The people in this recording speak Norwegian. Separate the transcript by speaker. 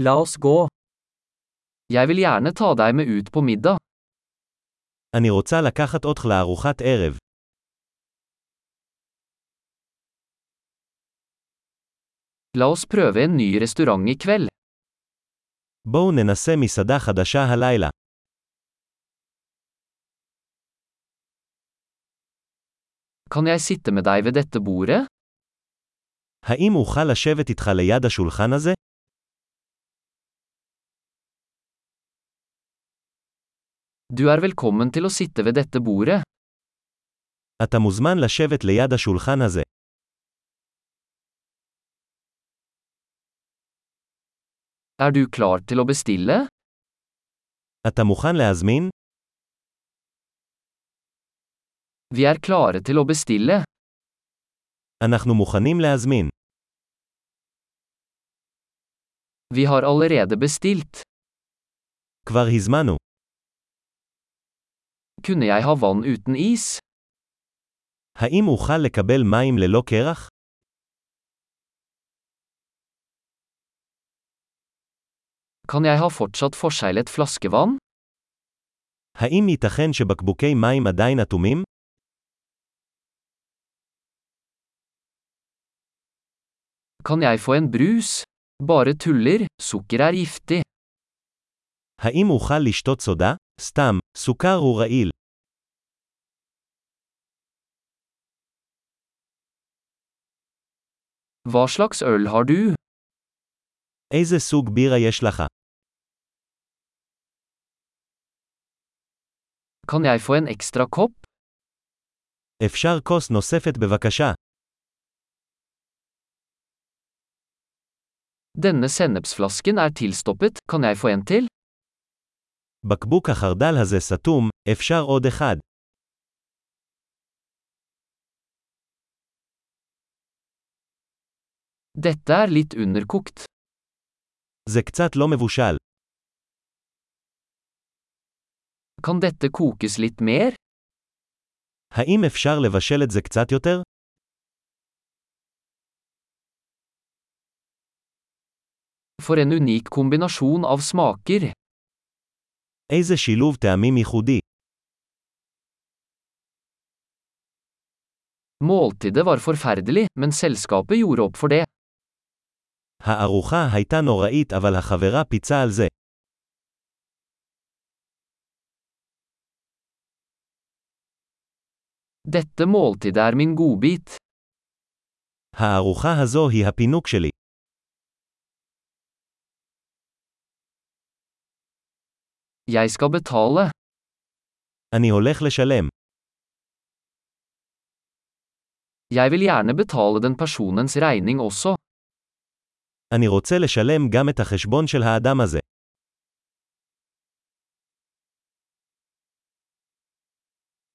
Speaker 1: La oss gå. Jeg vil gjerne ta deg med ut på middag.
Speaker 2: אני רוצה לקחת אותך לארוחת ערב.
Speaker 1: La oss prøve en ny restaurant i kveld.
Speaker 2: בואו ננסה מסעדה חדשה הלילה.
Speaker 1: Kan jeg sitte med deg ved dette bordet?
Speaker 2: האם אוכל לשבת איתך ליד השולחן הזה?
Speaker 1: Du er velkommen til å sitte ved dette bordet.
Speaker 2: אתה מוזמן לשבת ליד השולחן הזה.
Speaker 1: Er du klar til å bestille?
Speaker 2: אתה מוכן להזמין?
Speaker 1: Vi er klare til å bestille.
Speaker 2: אנחנו מוכנים להזמין.
Speaker 1: Vi har allerede bestilt.
Speaker 2: כבר הזמנו.
Speaker 1: Kunne jeg ha vann uten is?
Speaker 2: האם אוכל לקבל מים ללא קרח?
Speaker 1: Kan jeg ha fortsatt forseglet flaskevann?
Speaker 2: האם ייתכן שבקבוקי מים עדיין אטומים?
Speaker 1: Kan jeg få en brus? Bare tuller, sukker er giftig.
Speaker 2: האם אוכל לשתות סודה? סתם, סוכר הוא רעיל.
Speaker 1: Hva slags øl har du?
Speaker 2: איזה סוג בירה יש לך?
Speaker 1: Kan jeg få en ekstra kopp?
Speaker 2: אפשר כוס נוספת בבקשה.
Speaker 1: Denne sennepsflasken er tilstoppet, kan jeg få en til?
Speaker 2: בקבוק החרדל הזה סתום, אפשר עוד אחד.
Speaker 1: Dette er litt underkokt.
Speaker 2: זה קצת לא מבושל.
Speaker 1: Kan dette kokes litt mer?
Speaker 2: האם אפשר לבשל את זה קצת יותר?
Speaker 1: For en unik kombinasjon av smaker.
Speaker 2: איזה שילוב טעמים ייחודי.
Speaker 1: Måltidet var forferdelig, men selskapet gjorde opp for det.
Speaker 2: הארוחה הייתה נוראית אבל החברה פיצה על זה.
Speaker 1: Dette måltidet er min godbit.
Speaker 2: הארוחה הזו היא הפינוק שלי.
Speaker 1: Jeg skal betale.
Speaker 2: אני הולך לשלם.
Speaker 1: Jeg vil gjerne betale den personens regning også.
Speaker 2: אני רוצה לשלם גם את החשבון של האדם הזה.